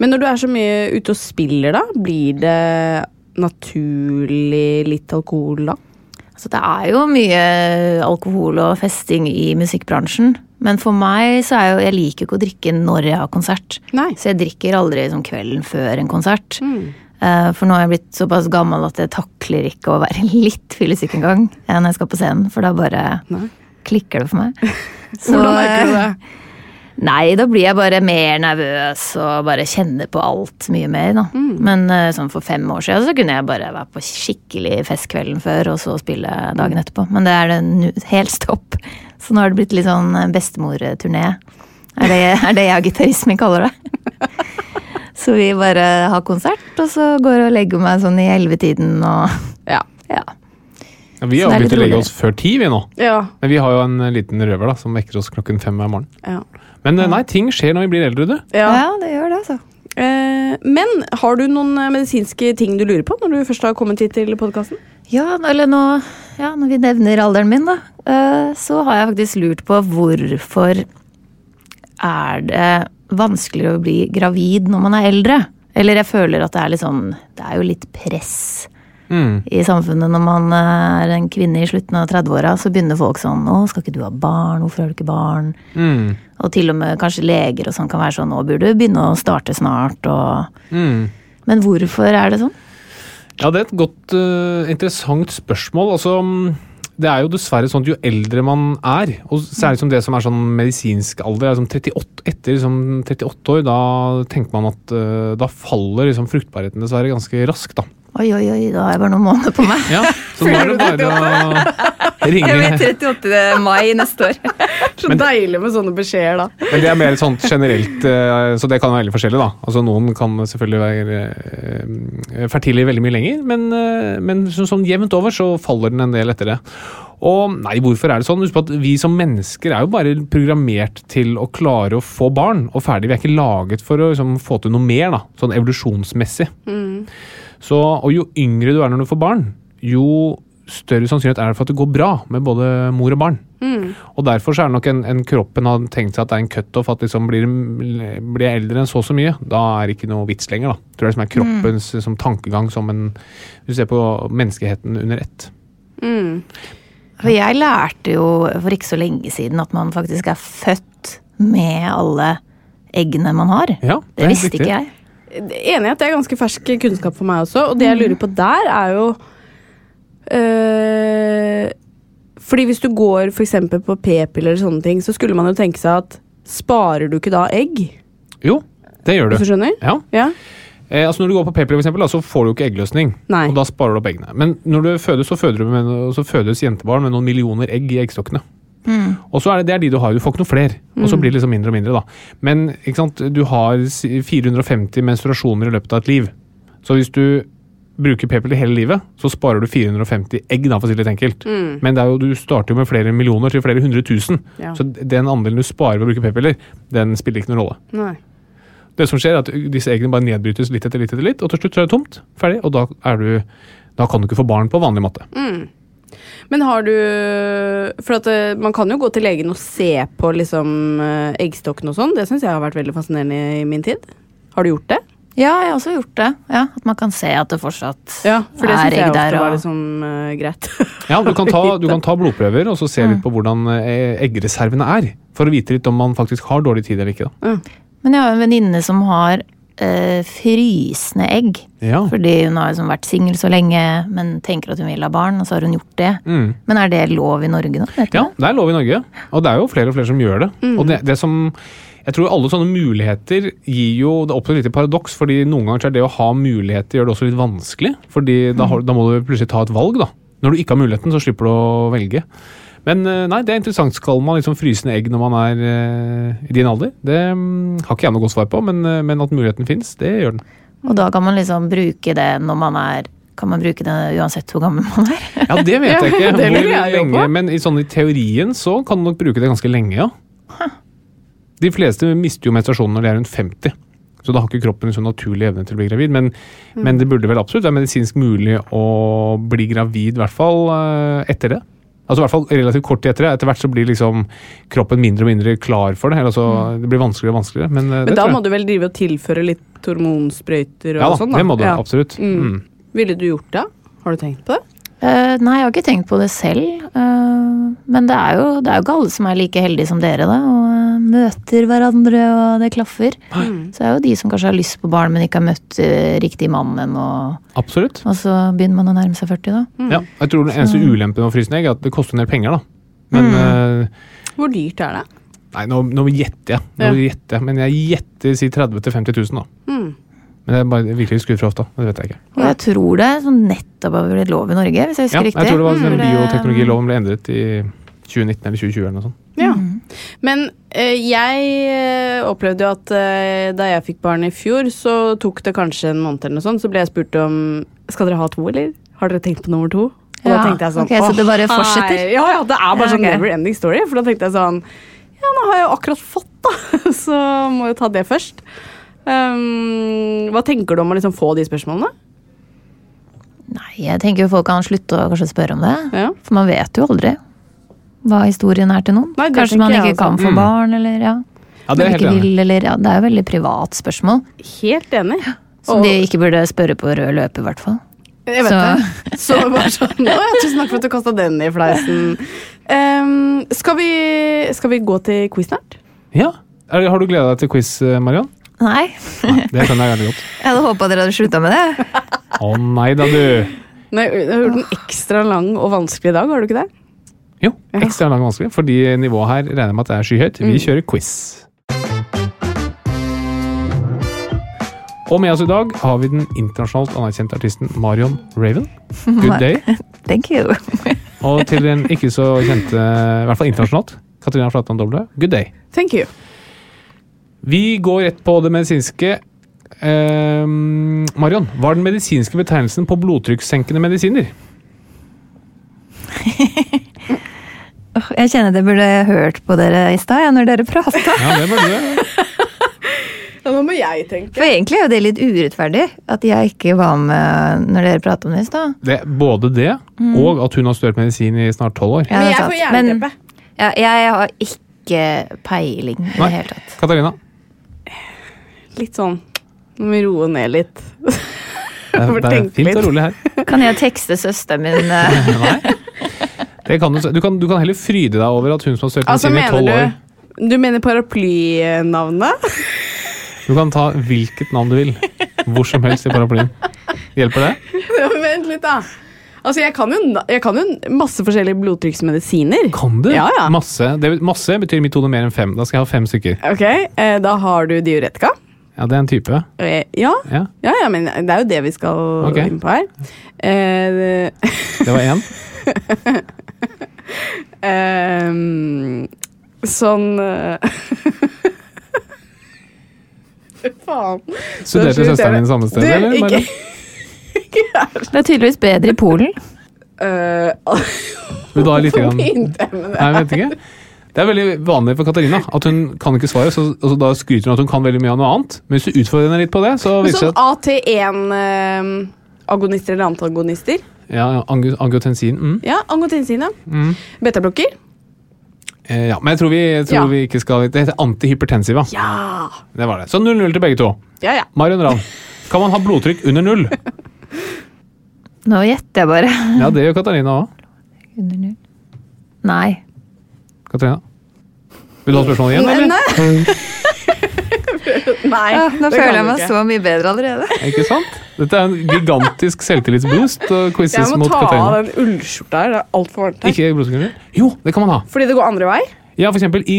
Men når du er så mye ute og spiller, da, blir det naturlig litt alkohol da? Altså, det er jo mye eh, alkohol og festing i musikkbransjen. Men for meg så er jo Jeg liker jo ikke å drikke når jeg har konsert. Nei. Mm. Så jeg drikker aldri liksom kvelden før en konsert. Eh, For nå er jeg blitt såpass gammel at jeg takler ikke å være *laughs* litt fyllesyk engang eh, når jeg skal på scenen, for da bare klikker det for meg. *laughs* Så, eh, Hvordan merker du det? Nei, da blir jeg bare mer nervøs og bare kjenner på alt mye mer, da. Men eh, sånn for fem år siden så kunne jeg bare være på skikkelig fest kvelden før og så spille dagen etterpå. Men det er det nu helt stopp. Så nå har det blitt litt sånn eh, bestemorturné. Er det, er det jeg og gitarismen kaller det. *laughs* Så vi bare har konsert, og så går jeg og legger meg sånn i ellevetiden og Ja. ja. Ja, vi har Så det er jo litt begynt å legge roligere. oss før ti, vi nå. Ja. Men vi har jo en eh, liten røver da, som vekker oss klokken fem hver morgen. ja. Men eh, nei, ting skjer når vi blir eldre, du. ja. ja, det gjør det, altså. Eh, men har du noen eh, medisinske ting du lurer på når du først har kommet hit til podkasten? Ja, eller nå, ja, når vi nevner alderen min, da, eh, så har jeg faktisk lurt på hvorfor er det vanskeligere å bli gravid når man er eldre? Eller jeg føler at det er litt sånn Det er jo litt press i samfunnet når man eh, er en kvinne i slutten av 30-åra. Så begynner folk sånn Å, skal ikke du ha barn? Hvorfor har du ikke barn? Og til og med kanskje leger og sånn kan være sånn Nå burde du begynne å starte snart, og Men hvorfor er det sånn? Ja, det er et godt, eh, interessant spørsmål. Altså, mm, det er jo dessverre sånn at jo eldre man er, og særlig som det som er sånn medisinsk alder, er sånn 38, etter liksom 38 år, da tenker man at eh, da faller liksom fruktbarheten dessverre ganske raskt, da. Oi, oi, oi, da har jeg bare noen måneder på meg. Ja, så nå er det bare å ringe 38. mai neste år. *laughs* Så deilig med sånne beskjeder, da. Men det er mer et sånt generelt, eh, så det kan være veldig forskjellig, da. Altså Noen kan selvfølgelig være eh, fertile veldig mye lenger, men, eh, men så, sånn jevnt over så faller den en del etter det. Og nei, hvorfor er det sånn? Husk på at vi som mennesker er jo bare programmert til å klare å få barn, og ferdig. Vi er ikke laget for å liksom, få til noe mer, da, sånn evolusjonsmessig. Så, og jo yngre du er når du får barn, jo større sannsynlighet er det for at det går bra med både mor og barn. Og derfor så er det nok en, en kroppen har tenkt seg at det er en cutoff, at liksom blir, blir jeg eldre enn så og så mye, da er det ikke noe vits lenger, da. Tror jeg liksom er kroppens liksom, tankegang som en Hvis du ser på menneskeheten under ett. For jeg lærte jo for ikke så lenge siden at man faktisk er født med alle eggene man har. Ja, det er det visste riktig. ikke jeg. Enig i at det er ganske fersk kunnskap for meg også, og det jeg lurer på der, er jo øh, Fordi hvis du går for eksempel på p-piller eller sånne ting, så skulle man jo tenke seg at sparer du ikke da egg? Jo, det gjør du. Hvis du skjønner? Ja. Ja. Eh, altså Når du går på p-piller, for eksempel, da, så får du jo ikke eggløsning. Nei. Og da sparer du opp eggene. Men når du fødes, så, føder du med, så fødes jentebarn med noen millioner egg i eggstokkene. Mm. Og så er det, det er de du har. Du får ikke noe flere. Og så blir det liksom mindre og mindre, da. Men ikke sant? du har si- 450 menstruasjoner i løpet av et liv. Så hvis du bruker p-piller hele livet, så sparer du 450 egg, da, for å si det litt enkelt. Men det er jo, du starter jo med flere millioner til flere hundre tusen. Mm. Ja. Så den andelen du sparer ved å bruke p-piller, den spiller ikke noen rolle. Nei. Det som skjer er at disse eggene bare nedbrytes litt etter litt, etter litt, og til slutt så er det tomt. Ferdig. Og da, er du, da kan du ikke få barn på vanlig måte. Men har du For at eh, man kan jo gå til legen og se på liksom eh, eggstokken og sånn. Det syns jeg har vært veldig fascinerende i min tid. Har du gjort det? Ja, jeg har også gjort det. Ja, at man kan se at det fortsatt For det er syns jeg egg ofte der. var Og... liksom eh, greit. *laughs* Ja, du kan, ta, du kan ta blodprøver og så se litt på hvordan eh, eggreservene er. For å vite litt om man faktisk har dårlig tid eller ikke. Da. Men jeg har en venninne som har eh, frysende egg. Ja. Fordi hun har liksom vært singel så lenge, men tenker at hun vil ha barn, og så har hun gjort det. Mm. Men er det lov i Norge nå? vet du ja, det? det er lov i Norge. Og det er jo flere og flere som gjør det. Og det, det som jeg tror alle sånne muligheter gir jo Det oppstår et lite paradoks, fordi noen ganger så er det å ha muligheter gjør det også litt vanskelig. Fordi da, har, da må du plutselig ta et valg, da. Når du ikke har muligheten, så slipper du å velge. Men eh, nei, det er interessant. Skal man liksom frysende egg når man er eh, i din alder? Det mm, har ikke jeg noe godt svar på, men, eh, men at muligheten fins, det gjør den. Og da kan man liksom bruke det når man er Kan man bruke det uansett hvor gammel man er? Ja, det vet jeg ikke. Ja, det lurer Hvor jeg jo lenge, på. men i, sånn, i teorien så kan du nok bruke det ganske lenge, ja. De fleste mister jo menstruasjonen når de er rundt 50. Så da har ikke kroppen en sånn naturlig evne til å bli gravid. Men, Mm. men det burde vel absolutt være medisinsk mulig å bli gravid, i hvert fall eh, etter det. Altså i hvert fall relativt kort tid etter det. Etter hvert så blir liksom kroppen mindre og mindre klar for det. Eller altså, det blir vanskeligere og vanskeligere. Men, eh, Mm. Men det da tror jeg. må du vel drive og tilføre litt hormonsprøyter og Ja da, sånn? det må du. Ja. Absolutt. Mm. Mm. Ville du gjort det? Har du tenkt på det? Eh, nei, jeg har ikke tenkt på det selv. eh, men det er, jo, det er jo ikke alle som er like heldige som dere, da. Og eh, møter hverandre, og det klaffer. Mm. Så det er jo de som kanskje har lyst på barn, men ikke har møtt eh, riktig mannen. Og, Absolutt. og så begynner man å nærme seg 40, Mm. Ja, da. jeg tror den eneste ulempen med å fryse ned er at det koster en del penger, da. Men Mm. eh, Hvor dyrt er det? Nei, nå, nå gjetter jeg. Nå Ja. gjetter jeg. Men jeg gjetter si 30 000-50 000, da. Mm. Men det er bare virkelig skudd fra hofta. Det vet jeg ikke. Og jeg tror det sånn nettopp har blitt lov i Norge, hvis Ja, jeg husker jeg riktig. tror det var sånn den Mm. bioteknologiloven ble endret i 2019 eller 2020 eller noe sånt. Ja. Mhm. Men eh, jeg eh, opplevde jo at eh, da jeg fikk barn i fjor, så tok det kanskje en måned eller noe sånt, så ble jeg spurt om Skal dere ha to, eller? Har dere tenkt på nummer to? Og da Ja, tenkte jeg sånn ok, så «Åh, det bare fortsetter?» hei. Ja, ja, det er bare Ja, sånn ok. never ending story. For da tenkte jeg sånn Ja, nå har jeg jo akkurat fått, da, *laughs* så må jeg ta det først. Um, hva tenker du om å liksom få de spørsmålene? Nei, jeg tenker jo folk kan slutte å kanskje spørre om det. Ja. For man vet jo aldri hva historien er til noen. Nei, det kanskje tenker man jeg ikke også. kan få barn, eller ja. Mm. Ja, det det er ikke helt enig. vil, eller, ja, det er jo veldig privat spørsmål. Helt enig. Som Og- de ikke burde spørre på rød løper, i hvert fall. Jeg vet Så- det. Så det var sånn, «Å ja, tusen takk for at du kasta den i fleisen. Ehm, skal, vi, skal vi gå til quiz snart? Ja. Er, har du gleda deg til quiz, eh, Mariann? *laughs* Nei, Det skjønner jeg gjerne godt. jeg hadde håpa dere hadde slutta med det. Å nei da, du. Nei, Du har gjort den ekstra lang og vanskelig i dag, har du ikke det? Jo, ekstra lang og vanskelig, fordi nivået her regner jeg med at det er skyhøyt. Vi kjører quiz. Og med oss i dag har vi den internasjonalt anerkjente artisten Marion Raven. Good day. *laughs* Thank you. Og til den ikke så kjente, i hvert fall internasjonalt, Katarina Flatland Doble, good day. Thank you. Vi går rett på det medisinske. Ehm, Marion, hva er den medisinske betegnelsen på blodtrykkssenkende medisiner? Jeg kjenner det burde hørt på dere i stad, når dere *laughs* prata. Ja, det var det. Ja, nå må jeg tenke. For egentlig er jo det litt urettferdig at jeg ikke var med når dere prata om det i stad. det både det, Mm. og at hun har studert medisin i snart tolv år. Ja, Men det er jeg sant. får jernteppe. ja, jeg har ikke peiling i det Nei. hele tatt. *laughs* Katarina, Litt sånn Nå må vi roe ned litt. eh, det er, Får det er tenke fint litt. og rolig her. Kan jeg tekste søsteren *laughs* min? eh? Nei. Det kan du, du, kan, du kan heller fryde deg over at hun som har studert Altså, medisin i mener tolv år du Du mener paraplynavnet? Du kan ta hvilket navn du vil. Hvor som helst i paraplyen. Hjelper det? *laughs* Ja, Vent litt, da. Altså, jeg kan jo, na- jeg kan jo masse forskjellige blodtrykksmedisiner. Kan du? Ja, ja. Masse, det, masse betyr i mitt hode mer enn fem. Da skal jeg ha fem stykker. Ok, eh, Da har du diuretika. Ja, det er en type. Eh, Ja, Ja, Ja, ja, men det er jo det vi skal Ok. inn på her. Eh, *laughs* Det var én. ehm, sånn eh, *laughs* Faen. Studerte Så søsteren din samme sted, Du, eller? Ikke, Marianne? *laughs* ikke, *laughs* Det er tydeligvis bedre i Polen. Eh, Vil du ha litt Hvorfor *laughs* grann? begynte jeg med det? Nei, jeg vet ikke. Det er veldig vanlig for Katarina at hun kan ikke svaret. Så, og så da skryter hun at hun kan veldig mye av noe annet. Men hvis du utfordrer henne litt på det, så virker det Sånn at AT1-agonister ehm, eller antagonister. ja, ja, angu- angiotensin mm, Ja, angotensin, ja. Betablokker. eh, ja. Men jeg tror, vi, jeg tror Ja. vi ikke skal Det heter antihypertensiva. Ja. Det var det. Så 0-0 til begge to. ja, ja. Marion Ravn, kan man ha blodtrykk under *laughs* null? Nå gjetter jeg bare. Ja, det gjør Katarina òg. Under null. Nei. Katarina. Vil du ha spørsmålet igjen, eller? Nei. eh, *laughs* Nei, Nå det kan føler jeg du meg ikke. så mye bedre allerede. Ikke sant? Dette er en gigantisk selvtillitsboost og quizzes Jeg må mot ta av Katarina. den ullskjorta her. Det er altfor varmt her. Ikke blodtrykk? Jo, det kan man ha. Fordi det går andre vei? Ja, for eksempel i,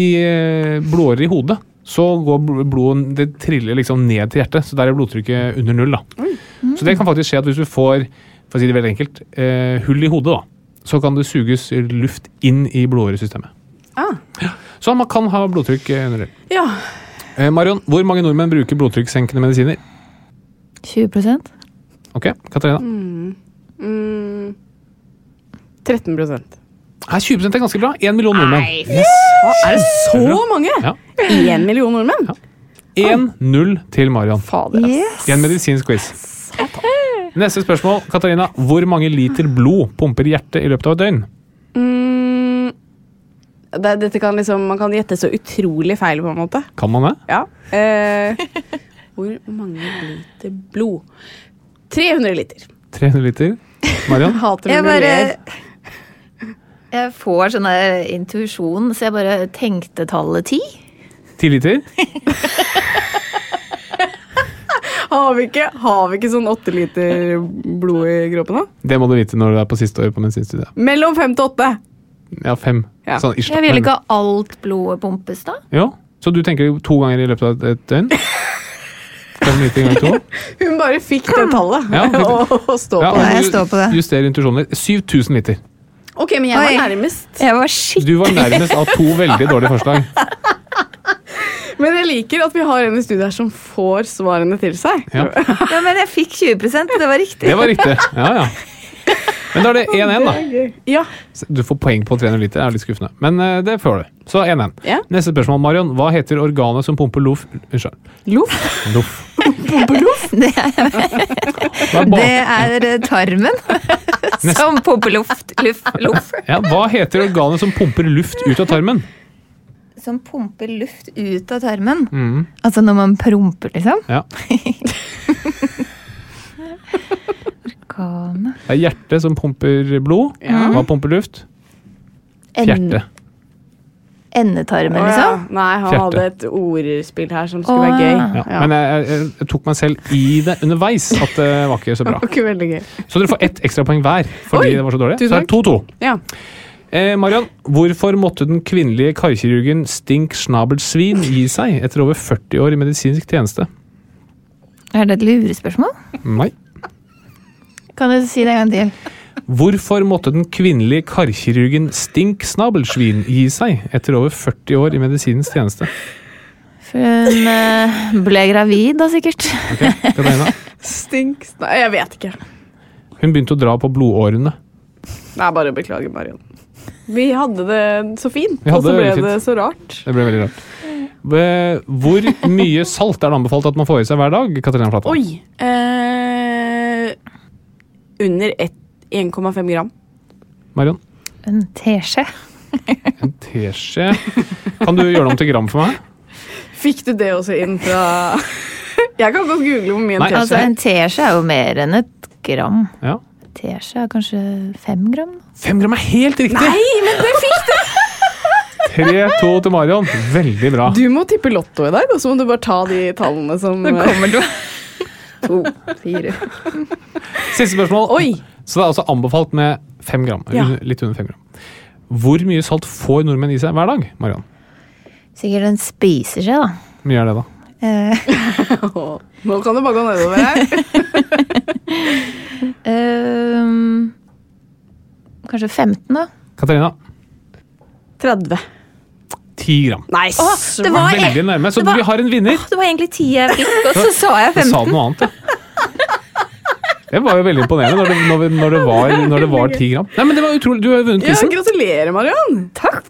i eh, blodårer i hodet så går bl- blodet Det triller liksom ned til hjertet, så der er blodtrykket under null. da. Mm. Så det kan faktisk skje at hvis du får for å si det veldig enkelt, eh, hull i hodet, da, så kan det suges luft inn i blodåresystemet. Ah. Så man kan ha blodtrykk eh, under null. Ja. Eh, Marion, hvor mange nordmenn bruker blodtrykkssenkende medisiner? 20 Ok, Katarina? Mm. 13 Hva, Nei, 20 er ganske bra. Én million nordmenn. Er det så mange? Mhm. Ja. Én million nordmenn? 1-0 til Marion. Fader, ass. I en medisinsk quiz. Neste spørsmål, Katarina. Hvor mange liter blod pumper hjertet i løpet av et døgn? Mm. Det, dette kan liksom, man kan gjette så utrolig feil, på en måte. Kan man det? Ja. Eh, *laughs* hvor mange liter blod? 300 liter. 300 liter? Marion? *laughs* Hater når Jeg du ler. bare *laughs* Jeg får sånn der intuisjon, så jeg bare tenkte tallet ti. 10 liter? Har vi ikke, har vi ikke sånn 8 liter blod i kroppen, da? Det må du vite når du er på siste år på medisinstudiet. Mellom 5 til 8. Ja, fem. Ja. Sånn ish. da. Jeg vil Men- ikke ha alt blodet pumpes, da. Jo. Så du tenker to ganger i løpet av et- et døgn? Fem liter ganger to? Hun bare fikk *laughs* det tallet Ja, fikk å det. å stå Ja, på. Nei, og jeg du står på det. Juster intuisjonen litt. 7000 liter. Ok, men jeg var Oi. nærmest. Jeg var skikkelig Du var nærmest av to veldig dårlige forslag. Men jeg liker at vi har en i studiet her som får svarene til seg. Ja. ja, Men jeg fikk 20 det var riktig. Det var riktig. Ja, ja. Men da er det 1-1, da. *laughs* Ja. Du får poeng på 300 liter, det er litt skuffende. Men eh, det får du. Så 1-1. Ja. Neste spørsmål, Marion. Hva heter organet som pumper loff Unnskyld. Loff. Loff. *laughs* Det er, Hva, er det bak- er eh, tarmen *laughs* *laughs* som pumper luft, luft, luft. ja, hva heter organet som pumper luft ut av tarmen? Som pumper luft ut av tarmen. Mm. Altså når man promper, liksom. Ja. Organet Det er hjertet som pumper blod. Hva pumper luft? Ende- Fjerte. Endetarmen, Å, ja. liksom. Nei, han Fjerte. hadde et ordspill her som skulle Å, være gøy. Ja. Men jeg, jeg, jeg tok meg selv i det underveis, at eh, det var ikke *laughs* så bra. Det var ikke veldig gøy. Så dere får ett ekstrapoeng hver fordi Oi, det var så dårlig. tusen Så er det 2-2. Ja. Eh, Marion, hvorfor måtte den kvinnelige karkirurgen Stink Schnabelsvin gi seg etter over 40 år i medisinsk tjeneste? Er det et lurespørsmål? Nei. Kan du si det en gang til? Hvorfor måtte den kvinnelige karkirurgen Stink Schnabelsvin gi seg etter over 40 år i medisinens tjeneste? For hun eh, ble gravid da, sikkert. Ok, Katarina. Stinks Nei, jeg vet ikke. Hun begynte å dra på blodårene. Nei, bare beklager, Marion. Vi hadde det så fint, Vi hadde og så det ble veldig fint. det så rart. Det ble veldig rart. Eh, Hvor mye salt er det anbefalt at man får i seg hver dag? Katarina Flatland? Oi! Eh, under ett- 1,5 gram. Marion? En teskje. En teskje Kan du gjøre det om til gram for meg? Fikk du det også inn fra *laughs* Jeg kan godt google hvor mye en Nei, teskje Altså, er. en teskje er jo mer enn et gram. Ja. Teskje er kanskje fem gram? Fem gram er helt riktig! Nei, men det fikk du! 3-2 til Marion. Veldig bra. Du må tippe Lotto i dag, og så må du bare ta de tallene som du To, fire Siste spørsmål. Oi! Så det er altså anbefalt med fem gram. Ja. under- Litt under fem gram. Hvor mye salt får nordmenn i seg hver dag? Marion? Sikkert en spiseskje, da. Hvor mye er det, da? Eh, Å, Nå kan du bare gå nedover *laughs* her. ehm, kanskje 15, da. Katarina? 30. Ti gram. Nei, det var- Nei. Veldig nærme. Så Det var- vi har en vinner. Det var egentlig 10 jeg fikk, og så sa jeg Jeg sa 15. noe annet, jeg. Det var jo veldig imponerende når det, når vi- når det, var, når det var 10 gram. Nei, men det var utrolig. Du har jo vunnet Ja, quizen. gratulerer, Mariann! Takk!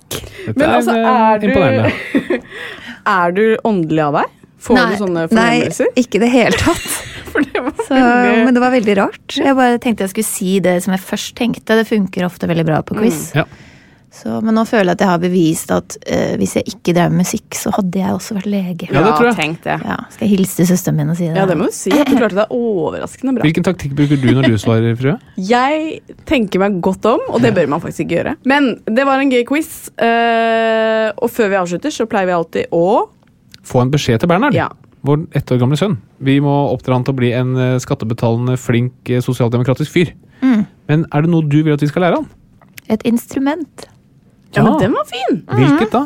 Dette Men altså, eh, er du, imponerende. *laughs* er du åndelig av deg? Får du sånne fornemmelser? *laughs* Nei, ikke i det hele tatt. For det var Så, veldig- men det var veldig rart. Jeg bare tenkte jeg skulle si det som jeg først tenkte. Det funker ofte veldig bra på quiz. Ja. Så, men nå føler jeg at jeg har bevist at eh, hvis jeg ikke drev med musikk, så hadde jeg også vært lege. Ja, det tror jeg. tenk det. Ja, skal jeg hilse til søsteren min og si det? Ja, det må du si. at Du klarte deg overraskende bra. Hvilken taktikk bruker du når du svarer, frue? Jeg tenker meg godt om, og det bør man faktisk ikke gjøre. Men det var en gøy quiz, eh, og før vi avslutter, så pleier vi alltid å Få en beskjed til Bernhard, Ja. vår ett år gamle sønn. Vi må oppdra han til å bli en eh, skattebetalende, flink, eh, sosialdemokratisk fyr. Mm. Men er det noe du vil at vi skal lære han? Et instrument? Ja, men den var fin! Hvilket da?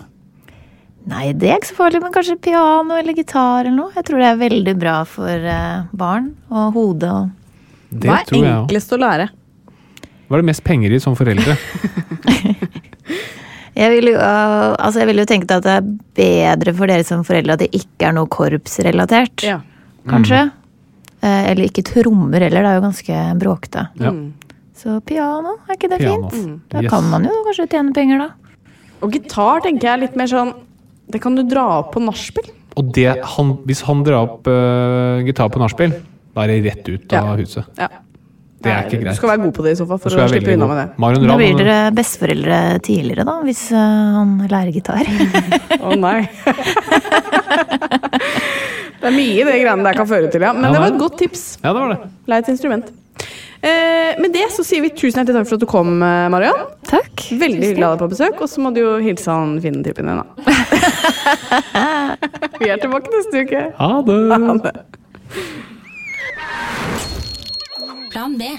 Nei, det er ikke så farlig, men kanskje piano eller gitar eller noe. Jeg tror det er veldig bra for eh, barn og hode og Det Hva er tror jeg òg. enklest å lære? Hva er det mest penger i som foreldre? Jeg ville jo, øh, altså jeg ville jo tenkt at det er bedre for dere som foreldre at det ikke er noe korpsrelatert, Ja. kanskje. Mhm. Eh, Eller ikke trommer heller, det er jo ganske bråkete. Ja. Så piano, er ikke det Piano. fint? Mm. Da Yes. kan man jo kanskje tjene penger, da. Og gitar tenker jeg er litt mer sånn Det kan du dra opp på nachspiel. Og det, han, hvis han drar opp eh, gitar på nachspiel, da er det rett ut av Ja. huset. Ja. Det er ikke Du greit. skal være god på det i så fall, for Du skal å være slippe veldig unna god. med det. Marion Da Ravn- blir dere besteforeldre tidligere, da, hvis øh, han lærer gitar. Å nei. *laughs* det er mye det greiene der kan føre til, ja. Men Ja, det var nei. et godt tips. Ja, det var det. Lei et instrument. Eh, med det så sier vi tusen hjertelig takk for at du kom, eh, Mariann. Takk. Veldig hyggelig å ha deg på besøk. Og så må du jo hilse han fine typen din, da. vi er tilbake neste uke. *laughs* Ha det. Ha det. Plan B.